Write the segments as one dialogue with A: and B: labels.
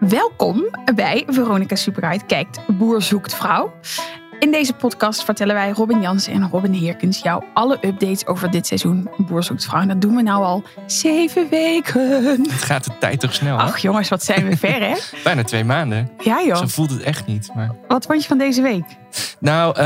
A: Welkom bij Veronica Superuit kijkt Boer zoekt vrouw. In deze podcast vertellen wij Robin Jansen en Robin Heerkens jou alle updates over dit seizoen Boer zoekt vrouw. En dat doen we nou al zeven weken.
B: Het gaat de tijd toch snel, hè?
A: Ach jongens, wat zijn we ver hè?
B: Bijna twee maanden.
A: Ja joh,
B: Zo voelt het echt niet. Maar...
A: wat vond je van deze week?
B: Nou, eh,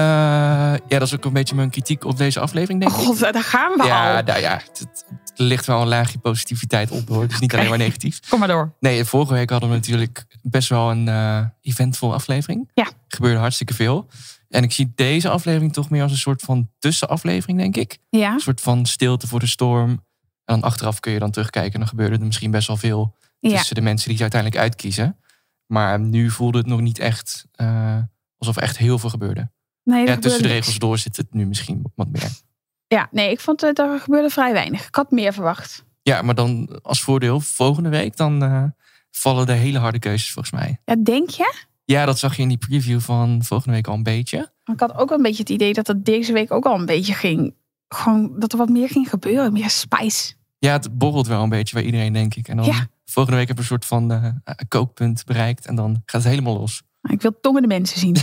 B: ja, dat is ook een beetje mijn kritiek op deze aflevering,
A: Oh
B: denk ik.
A: god, daar gaan we
B: Ja,
A: al.
B: nou ja, het, het- het ligt wel een laagje positiviteit op, hoor. Het is niet
A: Oké.
B: alleen maar negatief.
A: Kom maar door.
B: Nee, vorige week hadden we natuurlijk best wel een eh eventvolle aflevering.
A: Ja.
B: Gebeurde hartstikke veel. En ik zie deze aflevering toch meer als een soort van tussenaflevering, denk ik.
A: Ja,
B: Een soort van stilte voor de storm. En dan achteraf kun je dan terugkijken en dan gebeurde er misschien best wel veel
A: ja.
B: tussen de mensen die ze uiteindelijk uitkiezen. Maar nu voelde het nog niet echt eh, alsof er echt heel veel gebeurde.
A: Nee,
B: Ja, tussen de
A: niks.
B: regels door zit het nu misschien wat meer.
A: Ja, nee, ik vond dat er gebeurde vrij weinig. Ik had meer verwacht.
B: Ja, maar dan als voordeel, volgende week dan eh, vallen de hele harde keuzes volgens mij.
A: Ja, denk je?
B: Ja, dat zag je in die preview van volgende week al een beetje.
A: Ik had ook wel een beetje het idee dat dat deze week ook al een beetje ging. Gewoon dat er wat meer ging gebeuren. Meer spice.
B: Ja, het borrelt wel een beetje bij iedereen, denk ik. En dan
A: Ja.
B: volgende week heb je een soort van eh, kookpunt bereikt. En dan gaat het helemaal los.
A: Ah, Ik wil tongen de mensen zien.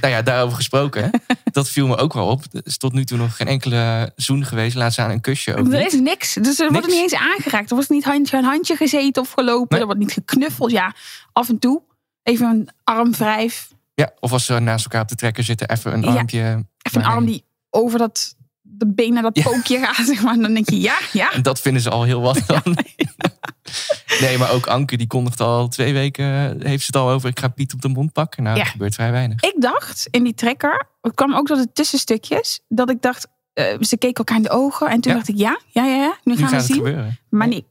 B: Nou ja, daarover gesproken. hè. dat viel me ook wel op. Er is tot nu toe nog geen enkele zoen geweest. Laat staan een kusje ook
A: er
B: niet.
A: is niks. Dus er wordt
B: Niks.
A: niet eens aangeraakt. Er wordt niet handje aan handje gezeten of gelopen.
B: Nee.
A: Er wordt niet geknuffeld. Ja, af en toe. Even een arm wrijf.
B: Ja, of als ze naast elkaar op de trekker zitten, even een
A: Ja.
B: armpje.
A: Even een arm die over dat de been naar dat
B: Ja.
A: pookje gaat. Zeg maar. Dan denk je, ja, ja.
B: En dat vinden ze al heel wat dan. nee, maar ook Anke, die kondigt al twee weken, eh, heeft ze het al over, ik ga Piet op de mond pakken. Nou,
A: Ja.
B: dat gebeurt vrij weinig.
A: Ik dacht in die trekker, het kwam ook door de tussenstukjes, dat ik dacht, eh, ze keken elkaar in de ogen. En toen
B: Ja.
A: dacht ik, ja, ja, ja, ja nu
B: Nu
A: gaan
B: gaat
A: we
B: het
A: zien.
B: gebeuren.
A: Maar nee,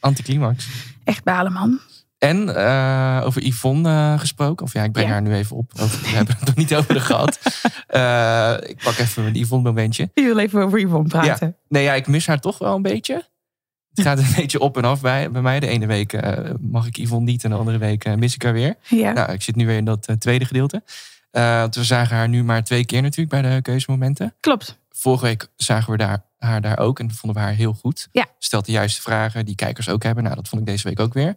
B: Anticlimax.
A: echt balen, man.
B: En eh, over Yvonne eh, gesproken. Of ja, ik breng
A: Ja.
B: haar nu even op. Over, we hebben het nog niet over haar gehad. Eh, ik pak even een Yvonne momentje.
A: Je wil even over Yvonne praten.
B: Nee, ja, ik mis haar toch wel een beetje. Het gaat een beetje op en af bij, bij mij. De ene week eh, mag ik Yvonne niet en de andere week eh, mis ik haar weer.
A: Ja.
B: Nou, ik zit nu weer in dat eh, tweede gedeelte. Eh, want we zagen haar nu maar twee keer natuurlijk bij de keuzemomenten.
A: Klopt.
B: Vorige week zagen we daar, haar daar ook en vonden we haar heel goed.
A: Ja.
B: Stelt de juiste vragen die kijkers ook hebben. Nou, dat vond ik deze week ook weer.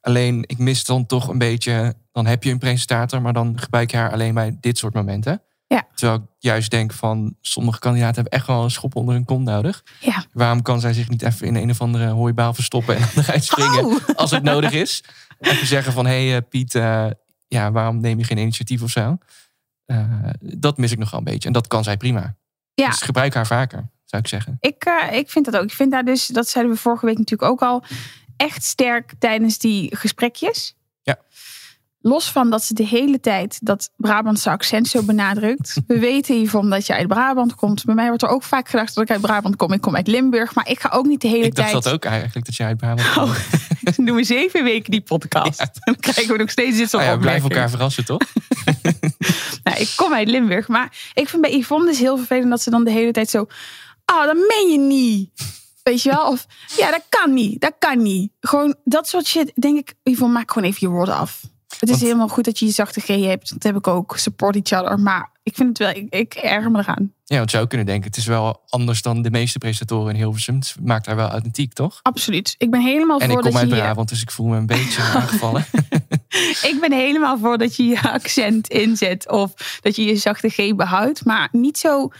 B: Alleen, ik mis dan toch een beetje... Dan heb je een presentator, maar dan gebruik je haar alleen bij dit soort momenten.
A: Ja.
B: Terwijl ik juist denk van... Sommige kandidaten hebben echt wel een schop onder hun kont nodig.
A: Ja.
B: Waarom kan zij zich niet even in een of andere hooibaal verstoppen... en dan eruit springen?
A: Oh,
B: als het nodig is. Even zeggen van, hé hey, eh, Piet, eh, ja, waarom neem je geen initiatief of zo? Eh, dat mis ik nogal een beetje. En dat kan zij prima.
A: Ja.
B: Dus gebruik haar vaker, zou ik zeggen.
A: ik, eh, ik vind dat ook. Ik vind daar dus, dat zeiden we vorige week natuurlijk ook al, echt sterk tijdens die gesprekjes.
B: Ja.
A: Los van dat ze de hele tijd dat Brabantse accent zo benadrukt. We weten hiervan dat je uit Brabant komt. Bij mij wordt er ook vaak gedacht dat ik uit Brabant kom. Ik kom uit Limburg, maar ik ga ook niet de hele
B: Ik dacht
A: tijd...
B: dat ook eigenlijk, dat jij uit Brabant
A: Oh,
B: komt.
A: dat Dan doen we zeven weken die podcast. Dan krijgen we nog steeds dit soort
B: Nou ja, we blijven
A: opmerkingen.
B: elkaar verrassen, toch?
A: Nou, ik kom uit Limburg, maar ik vind bij Yvonne dus heel vervelend dat ze dan de hele tijd zo... Oh, dat meen je niet. Weet je wel? Of ja, dat kan niet. Dat kan niet. Gewoon dat soort shit. Denk ik, Yvonne, maak gewoon even je woorden af. Het is
B: Want-
A: helemaal goed dat je je zachte G hebt. Dat heb ik ook. Support each other. Maar ik vind het wel, ik, ik erger me eraan.
B: Ja, want je zou kunnen denken, het is wel anders dan de meeste presentatoren in Hilversum. Het maakt haar wel authentiek, toch?
A: Absoluut. Ik ben helemaal
B: En ik
A: voor dat
B: kom uit
A: je... je-
B: Brabant, dus ik voel me een beetje
A: Oh.
B: aangevallen.
A: Ik ben helemaal voor dat je je accent inzet of dat je je zachte G behoudt. Maar niet zo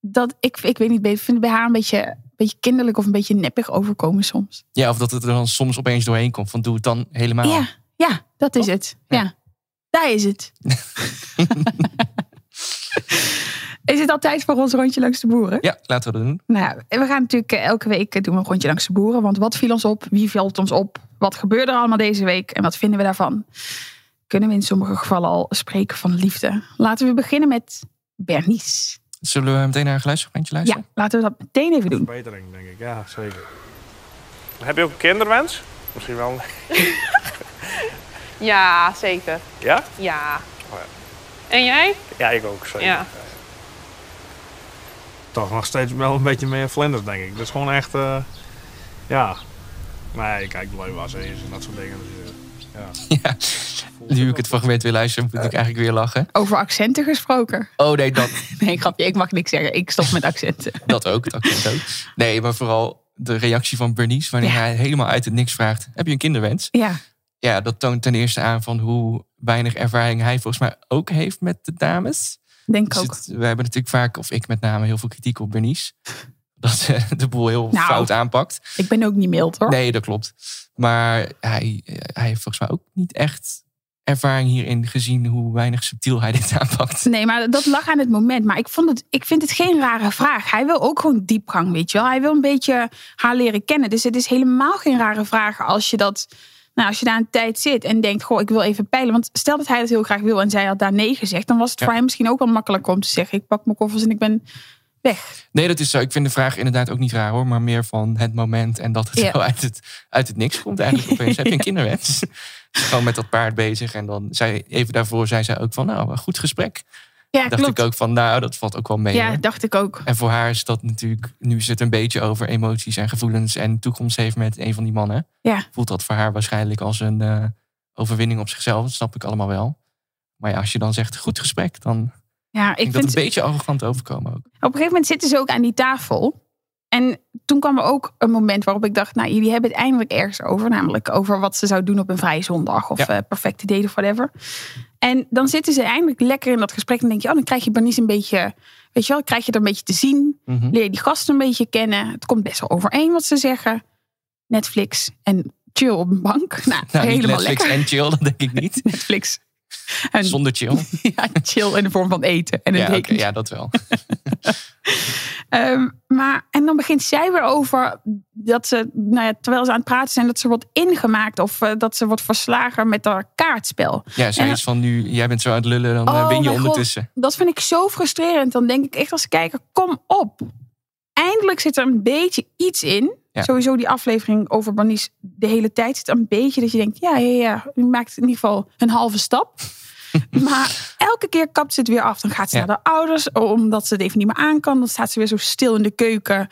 A: dat ik, ik weet niet, ik vind het bij haar een beetje, een beetje kinderlijk of een beetje neppig overkomen soms.
B: Ja, of dat het er dan soms opeens doorheen komt. Van doe het dan helemaal.
A: Ja, ja, dat is het. Ja, daar is het. is het al tijd voor ons rondje langs de boeren?
B: Ja, laten we dat doen.
A: Nou, ja, we gaan natuurlijk eh, elke week eh, doen we een rondje langs de boeren. Want wat viel ons op? Wie valt ons op? Wat gebeurde er allemaal deze week? En wat vinden we daarvan? Kunnen we in sommige gevallen al spreken van liefde? Laten we beginnen met Bernice.
B: Zullen we meteen naar een geluidsfragmentje
A: Ja,
B: luisteren?
A: laten we dat meteen even doen.
C: Verbetering, denk ik, ja, zeker. Heb je ook een kinderwens? Misschien wel.
D: Ja, zeker.
C: Ja?
D: Ja.
E: En jij?
C: Ja, ik ook. Zeker.
E: Ja.
C: Toch nog steeds wel een beetje meer Vlinders, denk ik. Dat is gewoon echt. eh, ja. Nee, ik kijk blij was eens en dat soort dingen. Dus, eh, ja.
B: Ja. Nu ik het fragment weer luister, moet ik eigenlijk weer lachen.
A: Over accenten gesproken.
B: Oh nee, dat,
A: Nee, grapje, ik mag niks zeggen. Ik stop met accenten.
B: dat ook. Dat klinkt ook. Nee, maar vooral de reactie van Bernice, wanneer
A: Ja.
B: hij helemaal uit het niks vraagt: Heb je een kinderwens?
A: Ja,
B: Ja, dat toont ten eerste aan van hoe weinig ervaring hij volgens mij ook heeft met de dames.
A: denk ik
B: Dus
A: ook.
B: het- we hebben natuurlijk vaak, of ik met name, heel veel kritiek op Bernice. Dat ze de boel heel
A: Nou.
B: fout aanpakt.
A: Ik ben ook niet mild hoor.
B: Nee, dat klopt. Maar hij, eh, hij heeft volgens mij ook niet echt ervaring hierin gezien hoe weinig subtiel hij dit aanpakt.
A: Nee, maar dat lag aan het moment. Maar ik, vond het, ik vind het geen rare vraag. Hij wil ook gewoon diepgang, weet je wel. Hij wil een beetje haar leren kennen. Dus het is helemaal geen rare vraag als je dat... Nou, als je daar een tijd zit en denkt, goh, ik wil even peilen. Want stel dat hij dat heel graag wil en zij had daar nee gezegd... dan was het
B: Ja.
A: voor hem misschien ook wel makkelijker om te zeggen... ik pak mijn koffers en ik ben weg.
B: Nee, dat is zo. Ik vind de vraag inderdaad ook niet raar hoor. Maar meer van het moment en dat het
A: Ja.
B: zo uit het, uit het niks komt eigenlijk opeens. Heb je een kinderwens? Gewoon met dat paard bezig. En dan zei even daarvoor zei zij ook van nou, een goed gesprek.
A: Ja,
B: Dacht ik ook van nou, dat valt ook wel mee.
A: Ja,
B: hoor.
A: dacht ik ook.
B: En voor haar is dat natuurlijk, nu zit een beetje over emoties en gevoelens en toekomst heeft met een van die mannen.
A: Ja.
B: Voelt dat voor haar waarschijnlijk als een eh, overwinning op zichzelf. Dat snap ik allemaal wel. Maar ja, als je dan zegt goed gesprek, dan vind
A: Ja,
B: ik
A: ik
B: dat
A: vind,
B: een beetje arrogant overkomen ook.
A: Op een gegeven moment zitten ze ook aan die tafel. En toen kwam er ook een moment waarop ik dacht, nou, jullie hebben het eindelijk ergens over. Namelijk over wat ze zou doen op een vrije zondag of
B: Ja.
A: eh, perfecte date of whatever. En dan zitten ze eindelijk lekker in dat gesprek. En denk je, oh, dan krijg je Bernice een beetje, weet je wel, krijg je er een beetje te zien.
B: Mhm.
A: Leer je die gasten een beetje kennen. Het komt best wel overeen wat ze zeggen. Netflix en chill op een bank. Nou,
B: Nou, niet
A: helemaal
B: Netflix
A: lekker.
B: en chill, dat denk ik niet.
A: Netflix. En
B: Zonder chill.
A: ja, chill in de vorm van eten en een
B: Ja, oké,
A: dekentje.
B: ja, dat wel.
A: Ehm, maar, en dan begint zij weer over dat ze, nou ja, terwijl ze aan het praten zijn, dat ze wordt ingemaakt of eh, dat ze wordt verslagen met haar kaartspel.
B: Ja,
A: En-
B: zoiets van nu, jij bent zo aan het lullen, dan eh,
A: Oh
B: win je
A: mijn god.
B: ondertussen.
A: Dat vind ik zo frustrerend. Dan denk ik echt als kijker, kom op. Eindelijk zit er een beetje iets in.
B: Ja.
A: Sowieso die aflevering over Bernice de hele tijd zit er een beetje dat je denkt, ja, ja, ja, je maakt in ieder geval een halve stap. maar elke keer kapt ze het weer af. Dan gaat ze
B: Ja.
A: naar de ouders, omdat ze het even niet meer aan kan. Dan staat ze weer zo stil in de keuken,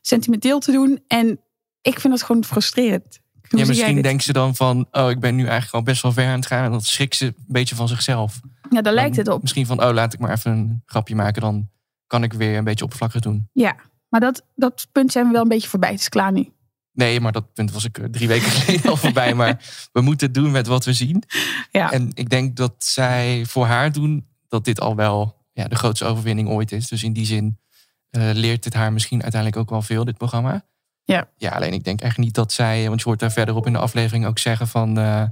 A: sentimenteel te doen. En ik vind dat gewoon frustrerend. Hoe
B: Ja,
A: zie jij
B: misschien
A: dit?
B: denkt ze dan van, oh, ik ben nu eigenlijk al best wel ver aan het gaan. En dan schrikt ze een beetje van zichzelf.
A: ja, daar lijkt
B: Dan
A: het op.
B: Misschien van, oh, laat ik maar even een grapje maken. Dan kan ik weer een beetje oppervlakkig doen.
A: Ja, maar dat, dat punt zijn we wel een beetje voorbij. Het is klaar nu.
B: Nee, maar dat punt was ik eh, drie weken geleden al voorbij. Maar we moeten het doen met wat we zien.
A: Ja.
B: En ik denk dat zij voor haar doen dat dit al wel ja, de grootste overwinning ooit is. Dus in die zin eh, leert dit haar misschien uiteindelijk ook wel veel, dit programma.
A: Ja.
B: ja, alleen ik denk echt niet dat zij, eh, want je hoort daar verderop in de aflevering ook zeggen van, eh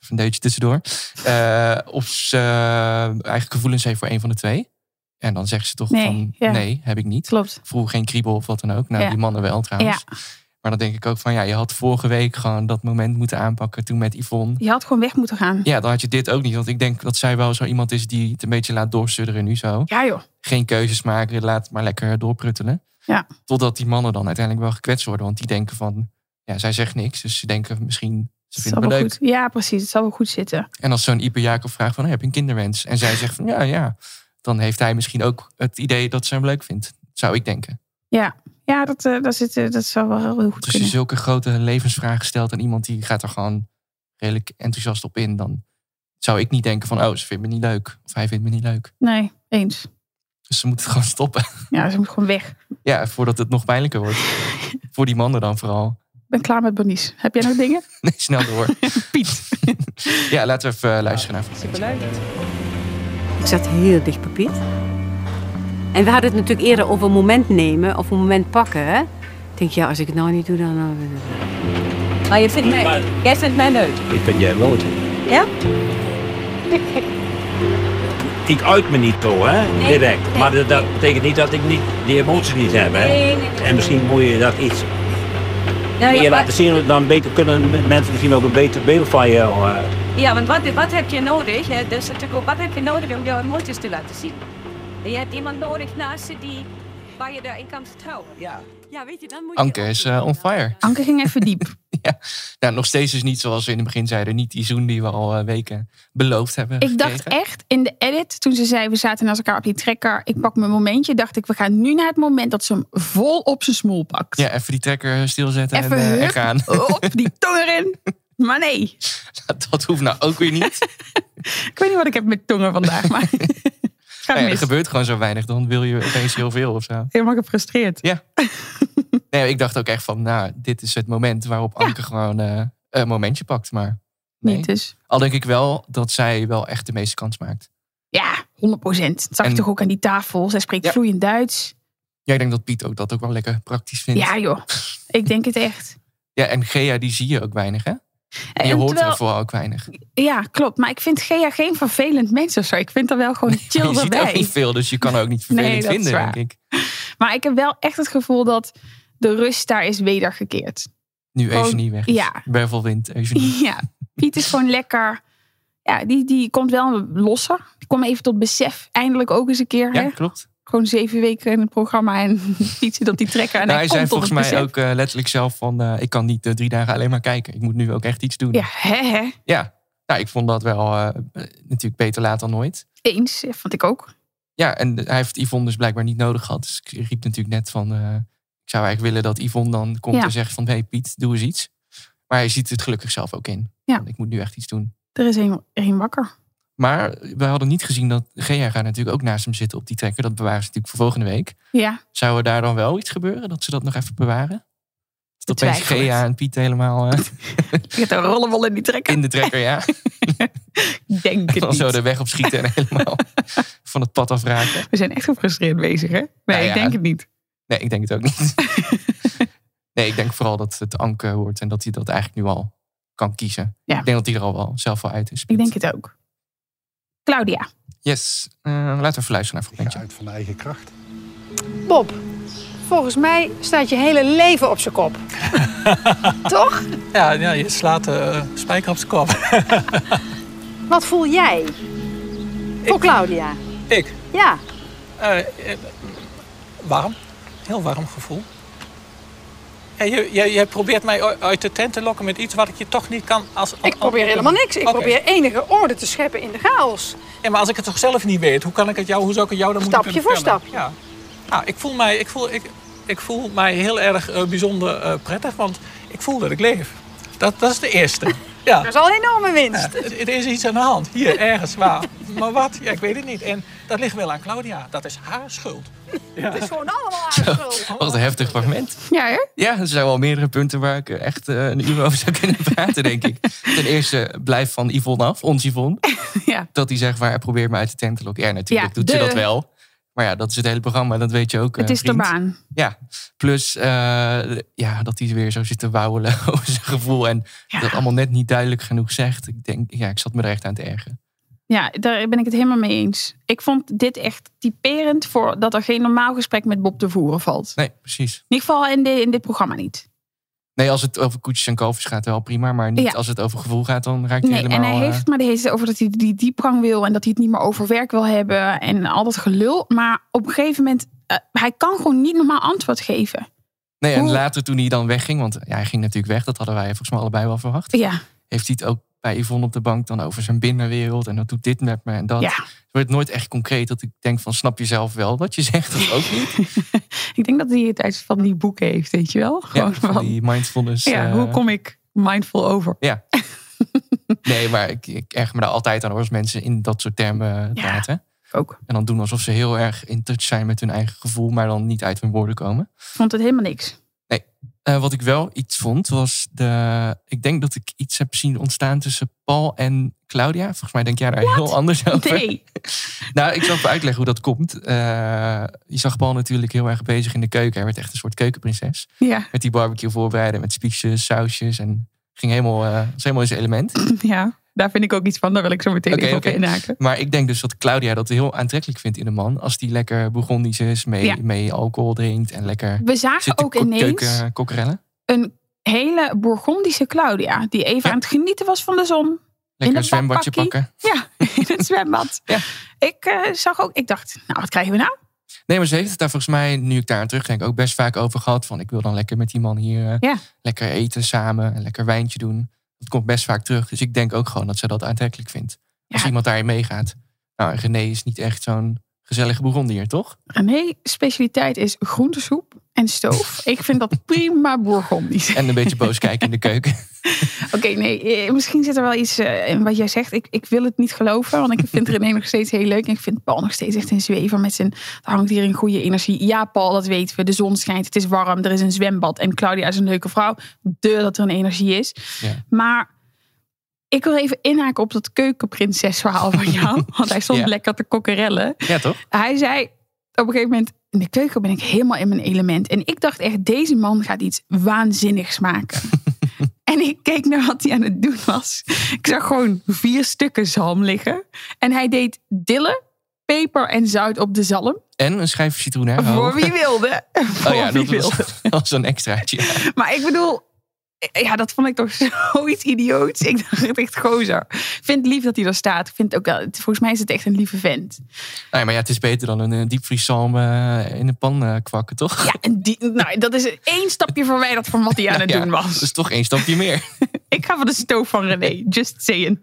B: of een deutje tussendoor, eh, of ze eh, eigen gevoelens heeft voor een van de twee. En dan zegt ze toch
A: Nee,
B: van,
A: ja.
B: nee, heb ik niet.
A: Klopt.
B: Vroeger geen kriebel of wat dan ook. Nou,
A: Ja.
B: die mannen wel trouwens.
A: Ja.
B: Maar dan denk ik ook van, ja, je had vorige week gewoon dat moment moeten aanpakken toen met Yvonne.
A: Je had gewoon weg moeten gaan.
B: Ja, dan had je dit ook niet. Want ik denk dat zij wel zo iemand is die het een beetje laat doorsudderen nu zo.
A: Ja joh.
B: Geen keuzes maken, laat het maar lekker doorpruttelen.
A: Ja.
B: Totdat die mannen dan uiteindelijk wel gekwetst worden. Want die denken van, ja, zij zegt niks. Dus ze denken misschien, ze
A: Het
B: vinden
A: zal
B: het
A: wel
B: wel leuk.
A: goed. Ja, precies. Het zal wel goed zitten.
B: En als zo'n Iper Jacob vraagt van, "Oh, heb je een kinderwens? En zij zegt van, ja, ja. Dan heeft hij misschien ook het idee dat ze hem leuk vindt. Zou ik denken.
A: Ja, dat, eh, dat, zit, eh, dat zal wel heel goed
B: Dus je
A: kunnen.
B: zulke grote levensvragen stelt aan iemand die gaat er gewoon redelijk enthousiast op in. Dan zou ik niet denken van, oh, ze vindt me niet leuk. Of hij vindt me niet leuk.
A: Nee, eens.
B: Dus ze moeten het gewoon stoppen.
A: Ja, ze moet gewoon weg. Ik
B: Ja, voordat het nog pijnlijker wordt. Voor die mannen dan vooral.
A: ben klaar met Bernice. Heb jij nog dingen?
B: Nee, snel door.
A: Piet.
B: Ja, laten we even eh, luisteren naar.
F: Ik zat heel dicht bij Piet. En we hadden het natuurlijk eerder over een moment nemen of een moment pakken. Hè? Ik denk, ja, als ik het nou niet doe, dan... Maar je vindt mij... Jij vindt mij leuk.
D: Ik vind jij leuk.
F: Ja?
D: Ik uit me niet zo, hè?
F: Nee,
D: Direct.
F: nee.
D: Maar dat, dat betekent niet dat ik niet, die emotie niet heb, hè?
F: Nee, nee, nee.
D: En misschien moet je dat iets
F: Nou,
D: meer
F: ja,
D: laten
F: maar,
D: zien. Dan beter, kunnen mensen misschien ook een beter beeld van je. eh,
F: ja, want wat, wat heb je nodig? Hè? Dus natuurlijk, ook, wat heb je nodig om jouw emoties te laten zien? Je hebt iemand nodig naast je die... waar je daarin kan vertrouwen. Ja. Ja, weet je, dan moet je...
B: Anke is, eh, on fire.
A: Anke ging even diep.
B: ja. Nou, nog steeds is niet zoals we in het begin zeiden. Niet die zoen die we al eh, weken beloofd hebben.
A: Ik dacht
B: gekregen.
A: echt in de edit, toen ze zei we zaten naast elkaar op die trekker. Ik pak mijn momentje. Dacht ik, we gaan nu naar het moment dat ze hem vol op zijn smoel pakt.
B: Ja, even die trekker stilzetten en,
A: Even
B: eh, en
A: hup,
B: gaan.
A: op, die tong erin. Maar nee,
B: Dat hoeft nou ook weer niet.
A: ik weet niet wat ik heb met tongen vandaag. Maar het gaat
B: Nou ja, er
A: mis.
B: gebeurt gewoon zo weinig. Dan wil je opeens heel veel of zo.
A: Helemaal gefrustreerd.
B: Nee, ik dacht ook echt van, nou, dit is het moment waarop Anke gewoon eh, een momentje pakt. Maar nee.
A: Niet dus.
B: Al denk ik wel dat zij wel echt de meeste kans maakt.
A: Ja, 100 procent. Dat zag
B: En-
A: je toch ook aan die tafel. Zij spreekt
B: Ja.
A: vloeiend Duits.
B: Ja, ik denk dat Piet ook dat ook wel lekker praktisch vindt.
A: Ja joh, ik denk het echt.
B: Ja, en Gea, die zie je ook weinig, hè? En je
A: En
B: hoort
A: terwijl-
B: er vooral ook weinig.
A: Ja, klopt. Maar ik vind Gea geen vervelend mens of zo. Ik vind haar wel gewoon
B: je
A: chill
B: ziet ook
A: erbij.
B: niet veel, dus je kan haar ook niet
A: Nee,
B: vervelend
A: dat is
B: vinden,
A: waar.
B: denk ik.
A: Maar ik heb wel echt het gevoel dat de rust daar is wedergekeerd.
B: Nu
A: Gewoon-
B: Eugenie weg is.
A: ja.
B: Wervelwind, Eugenie.
A: Ja, Piet is gewoon lekker. Ja, die, die komt wel losser. Die komt even tot besef. Eindelijk ook eens een keer.
B: Ja,
A: Hè?
B: klopt.
A: Gewoon zeven weken in het programma en Piet zit op die trekker. En
B: Nou,
A: hij
B: hij
A: komt
B: zei
A: tot
B: volgens
A: het
B: mij
A: besef.
B: ook eh, letterlijk zelf van... eh, ik kan niet eh, drie dagen alleen maar kijken. Ik moet nu ook echt iets doen.
A: Ja, hè, hè.
B: Ja. Nou, ik vond dat wel eh, natuurlijk beter laat dan nooit.
A: Eens, Ja, vond ik ook.
B: Ja, en hij heeft Yvonne dus blijkbaar niet nodig gehad. Dus ik riep natuurlijk net van... eh, ik zou eigenlijk willen dat Yvonne dan komt
A: Ja.
B: en zegt van... hey Piet, doe eens iets. Maar hij ziet het gelukkig zelf ook in.
A: Ja.
B: Van, ik moet nu echt iets doen.
A: Er is één één wakker.
B: Maar we hadden niet gezien dat Gea gaat natuurlijk ook naast hem zitten op die trekker. Dat bewaren ze natuurlijk voor volgende week.
A: Ja,
B: Zou er daar dan wel iets gebeuren? Dat ze dat nog even bewaren? Dat opeens
A: Betwijfel het.
B: Gea en Piet helemaal eh,
A: ik heb een rollenbol in die trekker.
B: in de trekker, ja.
A: Ik Denk het
B: Dan zo
A: niet.
B: de weg op schieten en helemaal van het pad afraken.
A: We zijn echt gefrustreerd bezig, hè? Nee,
B: Nou ja.
A: ik denk het niet.
B: Nee, ik denk het ook niet. nee, ik denk vooral dat het Anke wordt en dat hij dat eigenlijk nu al kan kiezen.
A: Ja.
B: Ik denk dat hij er al wel zelf wel uit is.
A: Ik denk het ook. Claudia.
B: Yes, Eh, laten we even luisteren naar een fragmentje.
G: Uit van eigen kracht.
E: Bob, volgens mij staat je hele leven op zijn kop. Toch?
H: Ja, ja je slaat de eh, spijker op zijn kop.
E: Wat voel jij? Voor Claudia.
H: Ik?
E: Ja,
H: Eh, eh, warm. Heel warm gevoel. En je, je, je probeert mij u- uit de tent te lokken met iets wat ik je toch niet kan... Als, Oh,
E: ik probeer helemaal niks. Ik
H: Oké.
E: probeer enige orde te scheppen in de chaos.
H: Ja, maar als ik het toch zelf niet weet, hoe kan ik het jou, hoe zou ik het jou Oh, dan moeten
E: Stapje
H: kunnen
E: voor
H: vertellen? Ja. Nou, ik voel mij, ik voel, ik, ik voel mij heel erg eh, bijzonder eh, prettig, want ik voel dat ik leef. Dat, dat is de eerste. Ja.
E: Dat is al een enorme winst.
H: Het, het is iets aan de hand. Hier, ergens, waar. Maar wat? Ja, ik weet het niet. En dat ligt wel aan Claudia. Dat is haar schuld.
E: Het is gewoon allemaal haar schuld.
B: Wat een heftig fragment.
A: Ja, hè?
B: Ja, er zijn wel meerdere punten waar ik echt eh, een uur over zou kunnen praten, denk ik. Ten eerste, blijf van Yvonne af, ons Yvonne.
A: Ja.
B: Dat hij zegt, maar probeer me uit de tent te lokken. Ja, natuurlijk
A: Ja,
B: doet ze
A: de-
B: dat wel. Maar ja, dat is het hele programma, dat weet je ook.
A: Het
B: eh,
A: is de
B: vriend.
A: baan.
B: Ja, plus eh, ja, dat hij weer zo zit te wauwelen over zijn gevoel. En dat allemaal net niet duidelijk genoeg zegt. Ik denk, ja, ik zat me er echt aan te ergeren.
A: Ja, daar ben ik het helemaal mee eens. Ik vond dit echt typerend voor dat er geen normaal gesprek met Bob te voeren valt.
B: Nee, precies.
A: In ieder geval in, de, in dit programma niet.
B: Nee, als het over koetjes en kalfjes gaat wel prima. Maar niet
A: Ja.
B: als het over gevoel gaat, dan raakt hij
A: Nee, en
B: helemaal...
A: hij
B: eh,
A: heeft het maar de hele tijd over dat hij die diepgang wil en dat hij het niet meer over werk wil hebben en al dat gelul. Maar op een gegeven moment, eh, hij kan gewoon niet normaal antwoord geven.
B: nee, en
A: Hoe-
B: later toen hij dan wegging, want ja, hij ging natuurlijk weg. Dat hadden wij volgens mij allebei wel verwacht.
A: Ja,
B: Heeft hij het ook bij Yvonne op de bank dan over zijn binnenwereld. En dat doet dit met me en dat.
A: Ja.
B: Het wordt nooit echt concreet dat ik denk van, snap je zelf wel wat je zegt of ook niet?
A: ik denk dat hij het uit van die boeken heeft, weet je wel?
B: Ja,
A: Gewoon
B: van die mindfulness.
A: Ja,
B: eh,
A: hoe kom ik mindful over?
B: Nee, maar ik, ik erg me daar altijd aan hoor, als mensen in dat soort termen
A: Ja.
B: praten.
A: Ook.
B: En dan doen alsof ze heel erg in touch zijn met hun eigen gevoel, maar dan niet uit hun woorden komen.
A: Vond het helemaal niks.
B: Eh, wat ik wel iets vond, was de. Ik denk dat ik iets heb zien ontstaan tussen Paul en Claudia. Volgens mij denk jij daar heel anders over.
A: Nee.
B: Nou, ik zal even uitleggen hoe dat komt. Eh, je zag Paul natuurlijk heel erg bezig in de keuken. Hij werd echt een soort keukenprinses.
A: Ja,
B: Met die barbecue voorbereiden, met spiesjes, sausjes. En ging helemaal, eh, was helemaal in zijn element.
A: ja, daar vind ik ook iets van. Daar wil ik zo meteen
B: Oké,
A: even
B: oké.
A: op inhaken.
B: Maar ik denk dus dat Claudia dat heel aantrekkelijk vindt in een man. Als die lekker Bourgondisch is, mee,
A: Ja.
B: mee alcohol drinkt en lekker
A: We zagen
B: zit te
A: Ah, ook
B: ko-
A: ineens
B: keuken kokkerellen.
A: een hele Bourgondische Claudia. Die even
B: Ja.
A: aan het genieten was van de zon.
B: Lekker
A: een
B: een zwembadje
A: badpakkie.
B: pakken.
A: Ja, in het zwembad.
B: Ja.
A: Ik eh, zag ook, ik dacht, nou wat krijgen we nou?
B: Nee, maar ze heeft het daar volgens mij, nu ik daar aan terugdenk, ook best vaak over gehad. Van ik wil dan lekker met die man hier eh,
A: Ja.
B: lekker eten samen en lekker wijntje doen. Dat komt best vaak terug. Dus ik denk ook gewoon dat ze dat aantrekkelijk vindt. Als
A: Ja.
B: iemand daarin meegaat. Nou, en René is niet echt zo'n gezellige boerondier, toch?
A: René, specialiteit is groentesoep en stoof. Ik vind dat prima bourgondisch.
B: En een beetje boos kijken in de keuken.
A: Oké, nee, eh, misschien zit er wel iets eh, in wat jij zegt. Ik, ik wil het niet geloven, want ik vind René nog steeds heel leuk. En ik vind Paul nog steeds echt een zwever met zijn... Er hangt hier een goede energie. Ja, Paul, dat weten we. De zon schijnt, het is warm, er is een zwembad. En Claudia is een leuke vrouw. De dat er een energie is.
B: Ja.
A: Maar ik wil even inhaken op dat keukenprinses verhaal van jou. Want hij stond
B: Ja.
A: lekker te kokkerellen.
B: Ja, toch?
A: Hij zei op een gegeven moment... In de keuken ben ik helemaal in mijn element. En ik dacht echt, deze man gaat iets waanzinnigs maken. en ik keek naar wat hij aan het doen was. Ik zag gewoon vier stukken zalm liggen. En hij deed dille, peper en zout op de zalm.
B: En een schijf citroen. hè?
A: Voor wie wilde. Voor
B: Oh ja,
A: wie
B: dat
A: wilde.
B: was, was een extraatje. Ja.
A: Maar ik bedoel, ja, dat vond ik toch zoiets idioots. Ik dacht echt gozer. Ik vind het lief dat hij daar staat. Ik vind het ook wel, het- volgens mij is het echt een lieve vent.
B: Nee, maar ja, het is beter dan een eh, diepvrieszalm eh, in een pan eh, kwakken, toch?
A: Ja, en die, nou, dat is één stapje verwijderd van wat hij aan het
B: Ja,
A: doen
B: Dat
A: was.
B: is toch één stapje meer.
A: Ik ga voor de stoof van René, just saying.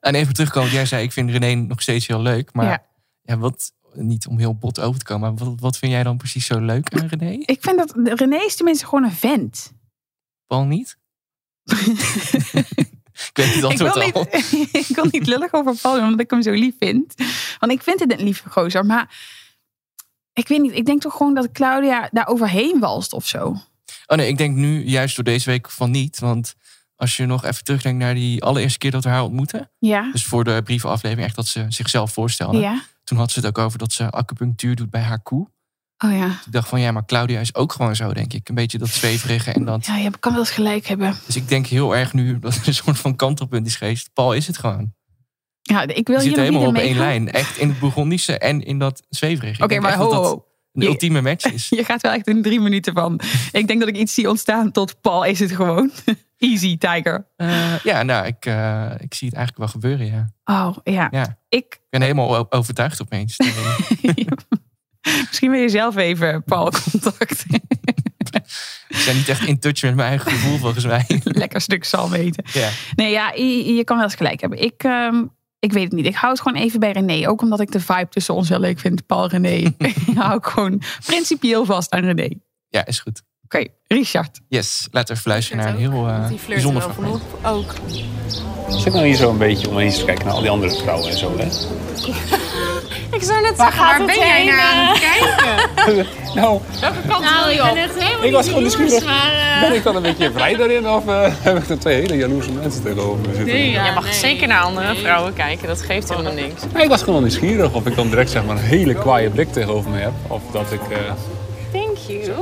B: En even terugkomen, jij zei ik vind René nog steeds heel leuk. Maar ja.
A: Ja.
B: wat, niet om heel bot over te komen, maar wat, wat vind jij dan precies zo leuk aan René?
A: Ik vind dat René is tenminste gewoon een vent.
B: Paul niet? ik weet het
A: Ik wil,
B: antwoord al.
A: niet, ik wil niet lullig over Paul doen, omdat ik hem zo lief vind. Want ik vind het een lieve gozer. Maar ik weet niet, ik denk toch gewoon dat Claudia daar overheen walst of zo.
B: Oh nee, ik denk nu juist door deze week van niet. Want als je nog even terugdenkt naar die allereerste keer dat we haar ontmoetten.
A: Ja,
B: Dus voor de brievenaflevering echt dat ze zichzelf voorstelde.
A: ja.
B: Toen had ze het ook over dat ze acupunctuur doet bij haar koe.
A: Oh ja.
B: Ik dacht van ja, maar Claudia is ook gewoon zo denk ik. Een beetje dat zweverige en dat.
A: Ja, je kan wel eens gelijk hebben.
B: Dus ik denk heel erg nu dat er een soort van kantelpunt is geweest. Paul is het gewoon.
A: Ja, ik wil
B: Je zit
A: hier nog
B: helemaal
A: niet
B: op
A: mee
B: één
A: gaan.
B: lijn. Echt in het Bourgondische en in dat zweverige. Ik
A: Oké,
B: denk
A: maar
B: echt dat
A: ho, ho,
B: dat
A: ho.
B: Een
A: Je-
B: ultieme match is.
A: Je gaat wel echt in drie minuten van. Ik denk dat ik iets zie ontstaan tot Paul is het gewoon. Easy, tiger.
B: Eh, ja, nou, ik, eh, ik zie het eigenlijk wel gebeuren, ja.
A: Oh, ja.
B: Ja.
A: Ik,
B: Ik ben helemaal o- overtuigd opeens.
A: misschien wil je zelf even Paul contact.
B: ik ben niet echt in touch met mijn eigen gevoel, volgens mij.
A: Lekker stuk zalm eten.
B: ja.
A: Nee, ja, je, je kan wel eens gelijk hebben. Ik, ehm, ik weet het niet. Ik hou het gewoon even bij René. Ook omdat ik de vibe tussen ons heel leuk vind. Paul, René. hou ik gewoon principieel vast aan René. Oké,
B: ja, is goed.
A: Richard.
B: Yes, laten we even luisteren naar een heel eh, bijzonder fragment.
F: Ook.
D: Zit nou hier zo een beetje om eens te kijken naar al die andere vrouwen en zo, hè?
I: Ik zou net zeggen, waar ben jij naar aan het kijken?
D: Nou,
I: Welke kant eh? nou, wil je op? helemaal
D: ik was gewoon nieuwsgierig. Ben
I: Maar, eh,
D: ik dan een beetje vrij daarin of eh, heb ik er twee hele jaloerse mensen tegenover me zitten?
I: je mag zeker naar andere vrouwen kijken, dat geeft helemaal niks.
D: Maar ik was gewoon nieuwsgierig of ik dan direct zeg maar, een hele kwaaie blik tegenover me heb. Of dat ik... eh,
I: Thank you.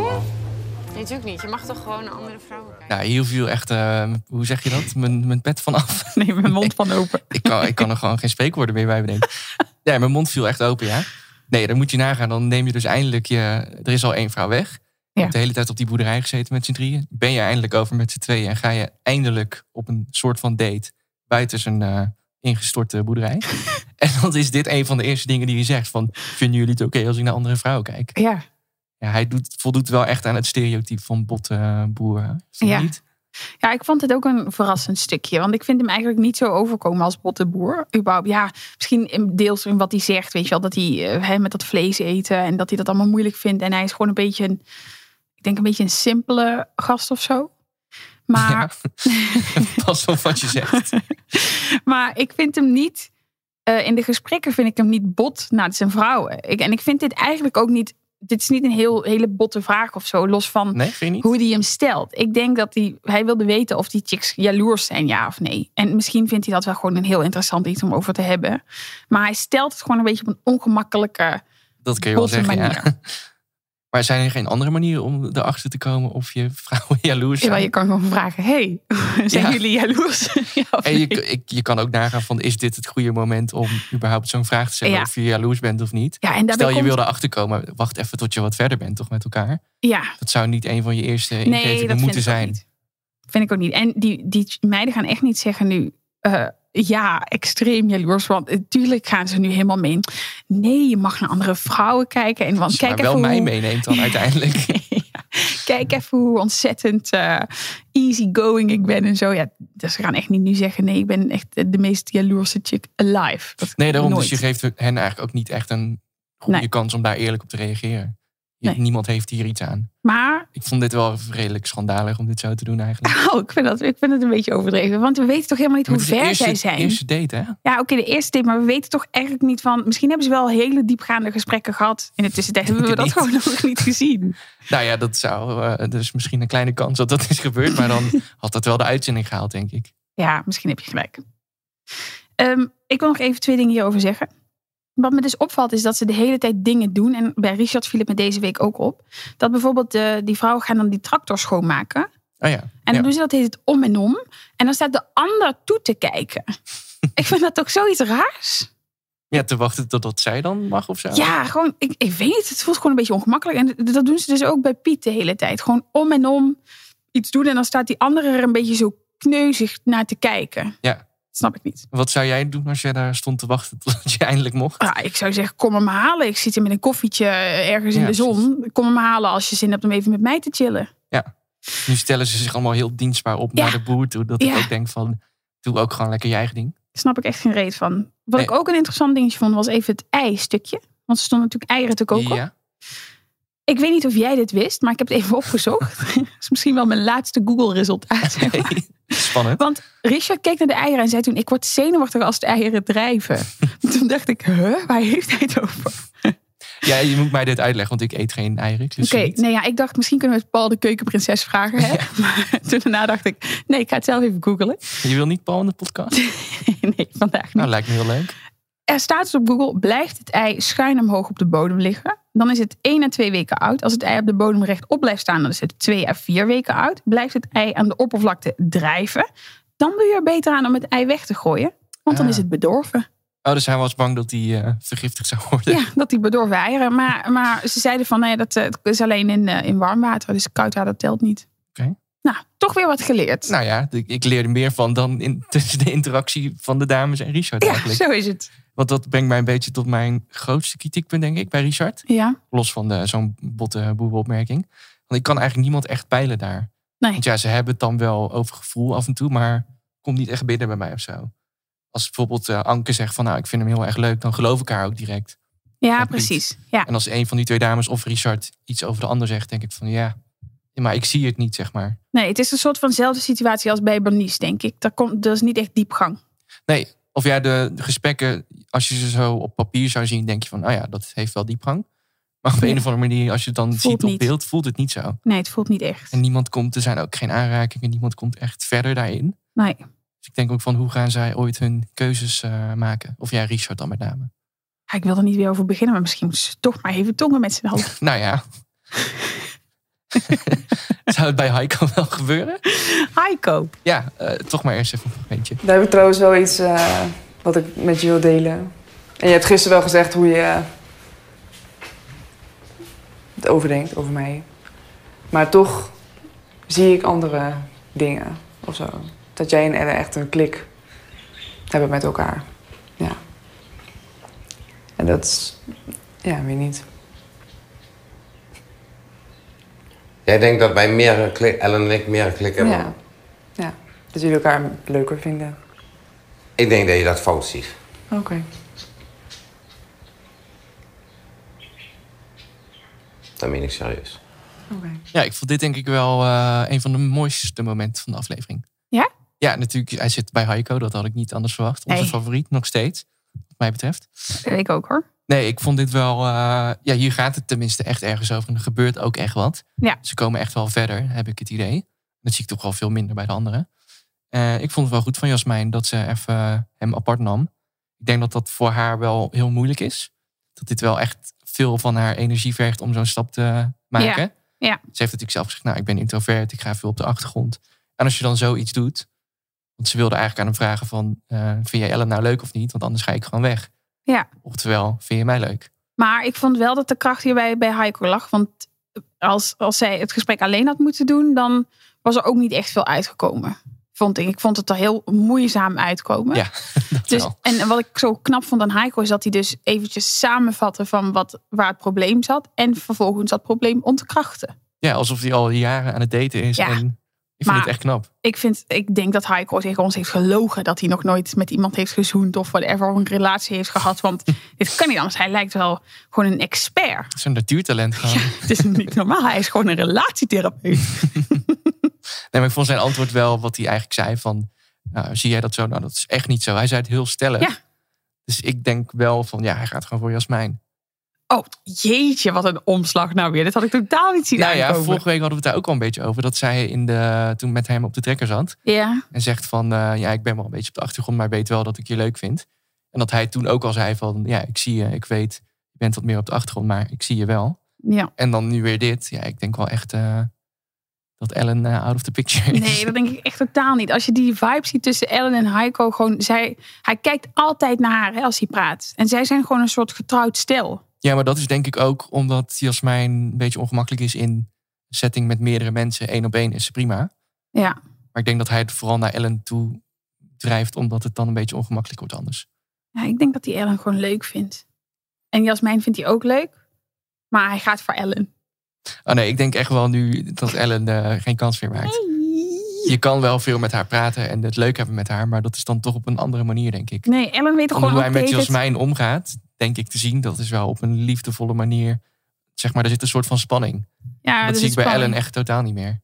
I: Nee, natuurlijk niet. Je mag toch gewoon naar andere vrouwen kijken.
B: Nou, hier viel echt, eh, hoe zeg je dat? Mijn, mijn pet vanaf.
A: Nee, mijn mond van open.
B: ik, kan, ik kan er gewoon geen spreekwoorden meer bij bedenken. Nee, mijn mond viel echt open, ja. Nee, dan moet je nagaan. Dan neem je dus eindelijk je... Er is al één vrouw weg. Je
A: Ja.
B: hebt de hele tijd op die boerderij gezeten met z'n drieën. Ben je eindelijk over met z'n tweeën. En ga je eindelijk op een soort van date buiten zijn eh, ingestorte boerderij. en dan is dit een van de eerste dingen die je zegt. Van, vinden jullie het oké als ik naar andere vrouwen kijk?
A: Ja.
B: Ja, hij doet, voldoet wel echt aan het stereotype van botte eh, boer. hè? Is dat
A: Ja.
B: niet?
A: Ja, ik vond het ook een verrassend stukje. Want ik vind hem eigenlijk niet zo overkomen als Botteboer. Überhaupt, ja, misschien in- deels in wat hij zegt. Weet je wel, dat hij eh, hè, met dat vlees eten en dat hij dat allemaal moeilijk vindt. En hij is gewoon een beetje een, ik denk een beetje een simpele gast of zo. Maar,
B: Pas op wat je zegt.
A: maar ik vind hem niet, eh, in de gesprekken vind ik hem niet bot naar zijn vrouwen. Ik, en ik vind dit eigenlijk ook niet, dit is niet een heel, hele botte vraag of zo. Los van
B: Nee, vind je niet?
A: hoe die hem stelt. Ik denk dat hij, hij wilde weten of die chicks jaloers zijn, ja of nee. En misschien vindt hij dat wel gewoon een heel interessant iets om over te hebben. Maar hij stelt het gewoon een beetje op een ongemakkelijke
B: Dat kun je wel
A: botte
B: zeggen, ja.
A: manier.
B: Maar zijn er geen andere manieren om erachter te komen of je vrouwen jaloers zijn?
A: Terwijl je kan gewoon vragen, hey, zijn
B: Ja.
A: jullie jaloers? Ja, of
B: En je,
A: nee?
B: ik- je kan ook nagaan van, is dit het goede moment om überhaupt zo'n vraag te stellen?
A: Ja.
B: Of je jaloers bent of niet?
A: ja, en daarbij
B: Stel, je
A: komt-
B: wil erachter komen, wacht even tot je wat verder bent toch met elkaar?
A: Ja,
B: Dat zou niet een van je eerste
A: nee,
B: ingevingen
A: dat vind ik
B: moeten
A: ook
B: zijn.
A: niet. Vind ik ook niet. En die, die meiden gaan echt niet zeggen nu, eh, ja, extreem jaloers. Want natuurlijk gaan ze nu helemaal mee. Nee, je mag naar andere vrouwen kijken. En want kijk
B: maar wel
A: even
B: mij
A: hoe-
B: meeneemt dan uiteindelijk.
A: kijk even hoe ontzettend eh easygoing ik ben en zo. Ja, dus ze gaan echt niet nu zeggen, nee, ik ben echt de meest jaloerse chick alive. Dat
B: Nee, daarom.
A: nooit.
B: Dus je geeft hen eigenlijk ook niet echt een goede
A: Nee.
B: kans om daar eerlijk op te reageren. Je-
A: Nee.
B: Niemand heeft hier iets aan.
A: Maar
B: Ik vond dit wel redelijk schandalig om dit zo te doen eigenlijk.
A: oh, ik, vind dat, ik vind het een beetje overdreven. Want we weten toch helemaal niet
B: Maar
A: hoe
B: het is de
A: ver
B: eerste,
A: zij zijn.
B: eerste date, hè?
A: Ja, oké, de eerste tip. Maar we weten toch eigenlijk niet van... Misschien hebben ze wel hele diepgaande gesprekken gehad. In de tussentijd hebben we dat
B: Denk het
A: gewoon nog niet gezien.
B: Nou ja, dat zou eh, dus misschien een kleine kans dat dat is gebeurd. Maar dan had dat wel de uitzending gehaald, denk ik.
A: Ja, misschien heb je gelijk. Ehm, ik wil nog even twee dingen hierover zeggen. Wat me dus opvalt is dat ze de hele tijd dingen doen. En bij Richard viel het me deze week ook op. Dat bijvoorbeeld eh, die vrouwen gaan dan die tractor schoonmaken.
B: Oh ja.
A: En dan doen ze dat heet het om en om. En dan staat de ander toe te kijken. ik vind dat ook zoiets raars.
B: Ja, te wachten totdat zij dan mag of zo.
A: Ja, gewoon, ik, ik weet niet. Het voelt gewoon een beetje ongemakkelijk. En dat doen ze dus ook bij Piet de hele tijd. Gewoon om en om iets doen. En dan staat die andere er een beetje zo kneuzig naar te kijken.
B: Ja.
A: Snap ik niet.
B: Wat zou jij doen als jij daar stond te wachten totdat je eindelijk mocht?
A: Ja, ik zou zeggen, kom hem halen. Ik zit hier met een koffietje eh, ergens in
B: Ja,
A: de zon. Kom hem halen als je zin hebt om even met mij te chillen.
B: Ja. Nu stellen ze zich allemaal heel dienstbaar op naar de boer toe. Dat
A: Ja.
B: ik ook denk van, doe ook gewoon lekker je eigen ding.
A: snap ik echt geen reet van. Wat ik ook een interessant dingetje vond, was even het ei-stukje. Want ze stonden natuurlijk eieren te koken.
B: Ja.
A: Ik weet niet of jij dit wist, maar ik heb het even opgezocht. Dat is misschien wel mijn laatste Google-resultaat. zeg maar.
B: Spannend.
A: Want Richard keek naar de eieren en zei toen... ik word zenuwachtig als de eieren drijven. toen dacht ik, huh, waar heeft hij het over?
B: Ja, je moet mij dit uitleggen, want ik eet geen eieren. ik lust
A: Oké,
B: ze niet.
A: nee, ja, ik dacht misschien kunnen we het Paul de keukenprinses vragen. Hè? Maar toen daarna dacht ik, nee, ik ga het zelf even googlen.
B: Je wil niet Paul in de podcast? nee,
A: vandaag niet.
B: Nou, lijkt me heel leuk.
A: Er staat dus op Google, blijft het ei schuin omhoog op de bodem liggen, dan is het 1 à 2 weken oud. Als het ei op de bodem rechtop blijft staan, dan is het 2 à 4 weken oud. Blijft het ei aan de oppervlakte drijven, dan doe je er beter aan om het ei weg te gooien. Want
B: Ah.
A: dan is het bedorven.
B: Oh, dus hij was bang dat hij eh, vergiftigd zou worden.
A: Ja, dat die bedorven eieren. Maar, maar ze zeiden van, nee, dat eh, het is alleen in, eh, in warm water. Dus koud water telt niet.
B: Oké.
A: Nou, toch weer wat geleerd.
B: Nou ja, ik- ik leer er meer van dan in, tussen de interactie van de dames en Richard
A: ja,
B: eigenlijk.
A: zo is het.
B: Want dat brengt mij een beetje tot mijn grootste kritiekpunt, denk ik, bij Richard.
A: Ja,
B: Los van de- zo'n botte boerenopmerking. Want ik kan eigenlijk niemand echt peilen daar.
A: Nee.
B: Want ja, ze hebben het dan wel over gevoel af en toe, maar komt niet echt binnen bij mij of zo. Als bijvoorbeeld eh, Anke zegt van, nou, ik vind hem heel erg leuk, dan geloof ik haar ook direct.
A: ja
B: Van Piet.
A: precies. Ja.
B: En als een van die twee dames of Richard iets over de ander zegt, denk ik van, ja, maar ik zie het niet, zeg maar.
A: Nee, het is een soort vanzelfde situatie als bij Bernice, denk ik. Daar komt, dat is niet echt diepgang.
B: Nee, of ja, de, de gesprekken, als je ze zo op papier zou zien, denk je van, nou ja, dat heeft wel diepgang. Maar op een of andere manier, als je het dan ziet op
A: niet.
B: beeld, voelt het niet zo.
A: Nee, het voelt niet echt.
B: En niemand komt, er zijn ook geen aanrakingen, niemand komt echt verder daarin.
A: Nee.
B: Dus ik denk ook van, hoe gaan zij ooit hun keuzes eh, maken? Of ja, Richard dan met name.
A: Ja, ik wil er niet weer over beginnen, maar misschien moeten ze toch maar even tongen met z'n allen.
B: Nou ja. Zou het bij Heiko wel gebeuren?
A: Heiko?
B: Ja, eh, toch maar eerst even een momentje.
J: Daar heb ik trouwens wel iets eh, wat ik met je wil delen. En je hebt gisteren wel gezegd hoe je eh, het overdenkt over mij. Maar toch zie ik andere dingen of zo. Dat jij en Elle echt een klik hebben met elkaar. Ja. En dat is, ja, weet niet.
K: Jij denkt dat wij meer een klik, Ellen en ik meer een klik hebben?
J: Ja. ja. Dat jullie elkaar leuker vinden.
K: Ik denk dat je dat fout ziet.
J: Oké.
K: Dat meen ik serieus.
B: Ja, ik vond dit denk ik wel eh, een van de mooiste momenten van de aflevering.
A: Ja?
B: Ja, natuurlijk, hij zit bij Heiko, dat had ik niet anders verwacht. Onze
A: Nee.
B: favoriet, nog steeds, wat mij betreft.
A: Ik ook hoor.
B: Nee, ik vond dit wel. eh, ja, hier gaat het tenminste echt ergens over. En er gebeurt ook echt wat.
A: Ja.
B: Ze komen echt wel verder, heb ik het idee. Dat zie ik toch wel veel minder bij de anderen. Eh, ik vond het wel goed van Jasmijn dat ze even eh, hem apart nam. Ik denk dat dat voor haar wel heel moeilijk is. Dat dit wel echt veel van haar energie vergt om zo'n stap te maken.
A: Ja. ja.
B: Ze heeft natuurlijk zelf gezegd, nou, ik ben introvert, ik ga veel op de achtergrond. En als je dan zoiets doet, want ze wilde eigenlijk aan hem vragen van, eh, vind jij Ellen nou leuk of niet? Want anders ga ik gewoon weg.
A: Ja.
B: Oftewel, vind je mij leuk?
A: Maar ik vond wel dat de kracht hierbij bij Heiko lag. Want als, als zij het gesprek alleen had moeten doen, dan was er ook niet echt veel uitgekomen. vond ik. Ik vond het er heel moeizaam uitkomen.
B: Ja,
A: dus, en wat ik zo knap vond aan Heiko is dat hij dus eventjes samenvatte van wat, waar het probleem zat. En vervolgens dat probleem ontkrachten.
B: Ja, alsof hij al jaren aan het daten is.
A: Ja,
B: En ik vind
A: maar-
B: het echt knap.
A: Ik, vind, ik denk dat Heiko tegen ons heeft gelogen dat hij nog nooit met iemand heeft gezoend of whatever, of een relatie heeft gehad. Want dit kan niet anders. Hij lijkt wel gewoon een expert.
B: Zo'n natuurtalent gewoon.
A: Het is niet normaal. Hij is gewoon een relatietherapeut.
B: Nee, maar ik vond zijn antwoord wel wat hij eigenlijk zei van... Nou, zie jij dat zo? Nou, dat is echt niet zo. Hij zei het heel stellig.
A: Ja.
B: Dus ik denk wel van, ja, hij gaat gewoon voor Jasmijn.
A: Oh, jeetje, wat een omslag nou weer. Dit had ik totaal niet zien
B: Nou ja,
A: aankomen.
B: vorige week hadden we het daar ook al een beetje over. Dat zij in de, toen met hem op de trekker zat.
A: Ja.
B: En zegt van, eh, ja, ik ben wel een beetje op de achtergrond, maar ik weet wel dat ik je leuk vind. En dat hij toen ook al zei van, ja, ik zie je, ik weet, je bent wat meer op de achtergrond, maar ik zie je wel.
A: ja.
B: En dan nu weer dit. Ja, ik denk wel echt eh, dat Ellen eh, out of the picture is.
A: Nee, dat denk ik echt totaal niet. Als je die vibe ziet tussen Ellen en Heiko, gewoon zij, hij kijkt altijd naar haar hè, als hij praat. En zij zijn gewoon een soort getrouwd stel.
B: Ja, maar dat is denk ik ook omdat Jasmijn een beetje ongemakkelijk is in een setting met meerdere mensen. één op één is ze prima.
A: Ja.
B: Maar ik denk dat hij het vooral naar Ellen toe drijft, omdat het dan een beetje ongemakkelijk wordt anders.
A: ja, ik denk dat hij Ellen gewoon leuk vindt. En Jasmijn vindt hij ook leuk, maar hij gaat voor Ellen.
B: Oh nee, ik denk echt wel nu dat Ellen eh, geen kans meer maakt. Je kan wel veel met haar praten en het leuk hebben met haar, maar dat is dan toch op een andere manier, denk ik.
A: Nee, Ellen weet er
B: Van
A: gewoon
B: hoe hij met
A: altijd het-
B: Jasmijn omgaat, denk ik te zien, dat is wel op een liefdevolle manier. Zeg maar, er zit een soort van spanning.
A: Ja,
B: dat
A: er
B: zie
A: zit
B: ik bij
A: spanning.
B: Ellen echt totaal niet meer.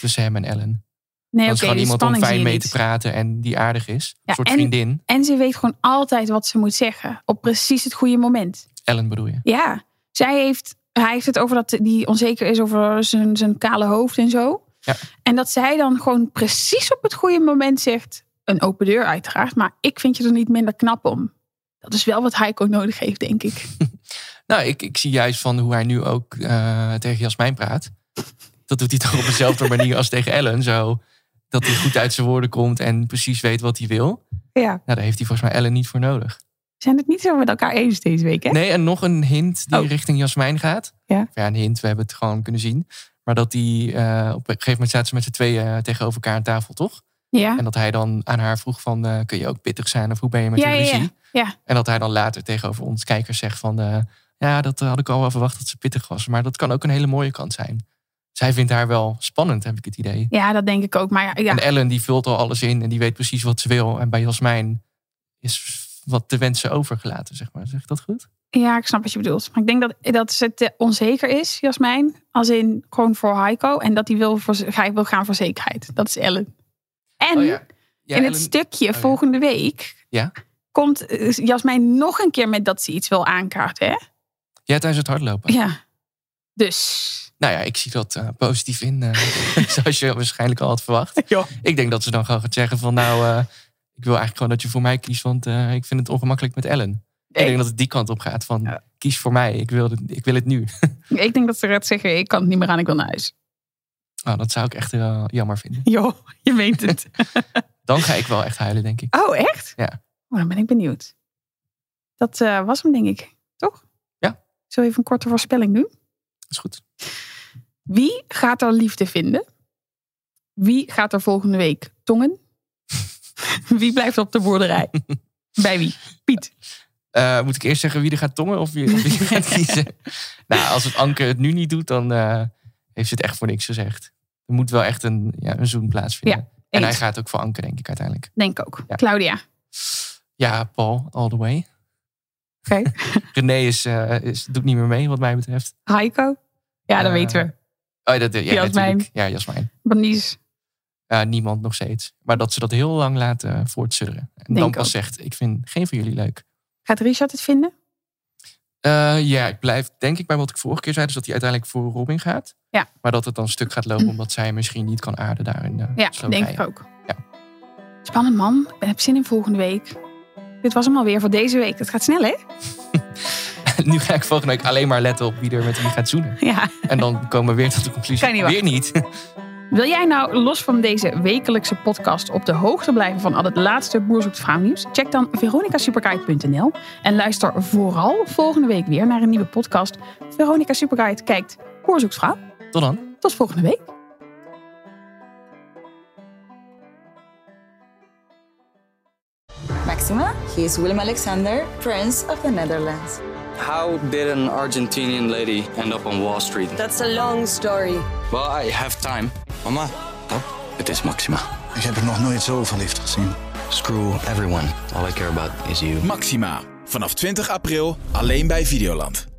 B: Tussen hem en Ellen.
A: Nee,
B: dat
A: oké,
B: is gewoon
A: die
B: iemand om
A: spanning
B: fijn
A: zie je
B: mee
A: niet.
B: te praten en die aardig is.
A: Ja,
B: een soort
A: en-
B: vriendin.
A: En ze weet gewoon altijd wat ze moet zeggen. Op precies het goede moment.
B: Ellen bedoel je.
A: Ja, zij heeft, hij heeft het over dat die onzeker is over zijn, zijn kale hoofd en zo.
B: Ja.
A: En dat zij dan gewoon precies op het goede moment zegt, een open deur uiteraard, maar ik vind je er niet minder knap om. Dat is wel wat Heiko nodig heeft, denk ik.
B: Nou, ik, ik zie juist van hoe hij nu ook eh, tegen Jasmijn praat. Dat doet hij toch op dezelfde manier als tegen Ellen. Zo dat hij goed uit zijn woorden komt en precies weet wat hij wil. Nou,
A: Ja.
B: daar heeft hij volgens mij Ellen niet voor nodig.
A: Zijn het niet zo met elkaar eens deze week, hè?
B: Nee, en nog een hint die richting Jasmijn gaat.
A: Oh. Ja.
B: ja, een hint, we hebben het gewoon kunnen zien. Maar dat die, eh, op een gegeven moment zaten ze met z'n tweeën eh, tegenover elkaar aan tafel, toch?
A: Ja.
B: En dat hij dan aan haar vroeg van, eh, kun je ook pittig zijn of hoe ben je met
A: ja,
B: de
A: ja,
B: ruzie?
A: ja, ja.
B: En dat hij dan later tegenover ons kijkers zegt van... eh, ja, dat had ik al wel verwacht dat ze pittig was. Maar dat kan ook een hele mooie kant zijn. Zij vindt haar wel spannend, heb ik het idee.
A: Ja, dat denk ik ook. Maar ja,
B: En Ellen die vult al alles in en die weet precies wat ze wil. En bij Jasmijn is wat te wensen overgelaten, zeg maar. Zeg ik dat goed?
A: Ja, ik snap wat je bedoelt. Maar ik denk dat, dat ze te onzeker is, Jasmijn. Als in gewoon voor Heiko. En dat hij wil, voor, hij wil gaan voor zekerheid. Dat is Ellen. En
B: Oh Ja,
A: in het
B: Ellen- oh
A: stukje volgende week
B: Ja?
A: komt eh, Jasmijn nog een keer met dat ze iets wil aankaarten. Hè?
B: Oh. Ja, tijdens het hardlopen.
A: Ja. Dus.
B: Nou ja, ik zie dat eh, positief in. eh, zoals je waarschijnlijk al had verwacht. Ik denk dat ze dan gewoon gaat zeggen van... Nou, eh, ik wil eigenlijk gewoon dat je voor mij kiest. Want eh, ik vind het ongemakkelijk met Ellen. Ik denk dat het die kant op gaat. Van kies voor mij. Ik wil, het- ik wil het nu.
A: Ik denk dat ze gaat zeggen, ik kan het niet meer aan, ik wil naar huis.
B: Nou, dat zou ik echt eh, jammer vinden.
A: Jo, je meent het.
B: Dan ga ik wel echt huilen, denk ik.
A: Oh, echt?
B: Ja.
A: Oh, dan ben ik benieuwd. Dat eh, was hem, denk ik. Toch?
B: Ja.
A: Zullen we even een korte voorspelling doen?
B: Is goed.
A: Wie gaat er liefde vinden? Wie gaat er volgende week tongen? Wie blijft op de boerderij? Bij wie? Piet.
B: Eh, moet ik eerst zeggen wie er gaat tongen of wie, of wie gaat kiezen? Nou, als het Anke het nu niet doet, dan eh, heeft ze het echt voor niks gezegd. Er moet wel echt een, ja, een zoen plaatsvinden.
A: Ja,
B: en hij
A: eens.
B: gaat ook voor Anke, denk ik uiteindelijk.
A: Denk ik ook. Claudia.
B: Ja, Paul, all the way.
A: Oké.
B: René is, eh, is, doet niet meer mee, wat mij betreft.
A: Heiko. Ja, dat
B: Eh,
A: weten we.
B: Oh, dat, ja,
A: Jasmijn.
B: natuurlijk. Ja, Jasmijn.
A: Bernice.
B: Eh, niemand nog steeds. Maar dat ze dat heel lang laten voortsudderen. En
A: Denk
B: dan
A: ik
B: pas
A: ook.
B: zegt, ik vind geen van jullie leuk.
A: Gaat Richard het vinden?
B: Eh, ja, ik blijf denk ik bij wat ik vorige keer zei. Dus dat hij uiteindelijk voor Robin gaat.
A: Ja.
B: Maar dat het dan stuk gaat lopen omdat zij misschien niet kan aarden daar in eh,
A: Ja,
B: Slowakije.
A: denk ik ook. Spannend man. Ik ben- heb zin in volgende week. Dit was hem alweer voor deze week. Het gaat snel hè?
B: nu ga ik volgende week alleen maar letten op wie er met wie gaat zoenen.
A: Ja.
B: En dan komen we weer tot de conclusie.
A: Kan niet
B: weer niet.
A: Wil jij nou los van deze wekelijkse podcast op de hoogte blijven van al het laatste Boer zoekt vrouw nieuws? Check dan veronicasuperguide.nl en luister vooral volgende week weer naar een nieuwe podcast. Veronica Superguide kijkt Boer zoekt vrouw.
B: Tot dan.
A: Tot volgende week.
L: He is Willem Alexander, Prince of the Netherlands.
M: How did an Argentinian lady end up on Wall Street?
F: That's a long story.
M: Well, I have time. Mama, oh, it is Maxima.
H: Ik heb er nog nooit zo verliefd gezien.
M: Screw everyone. All I care about is you.
N: Maxima, vanaf 20 april alleen bij Videoland.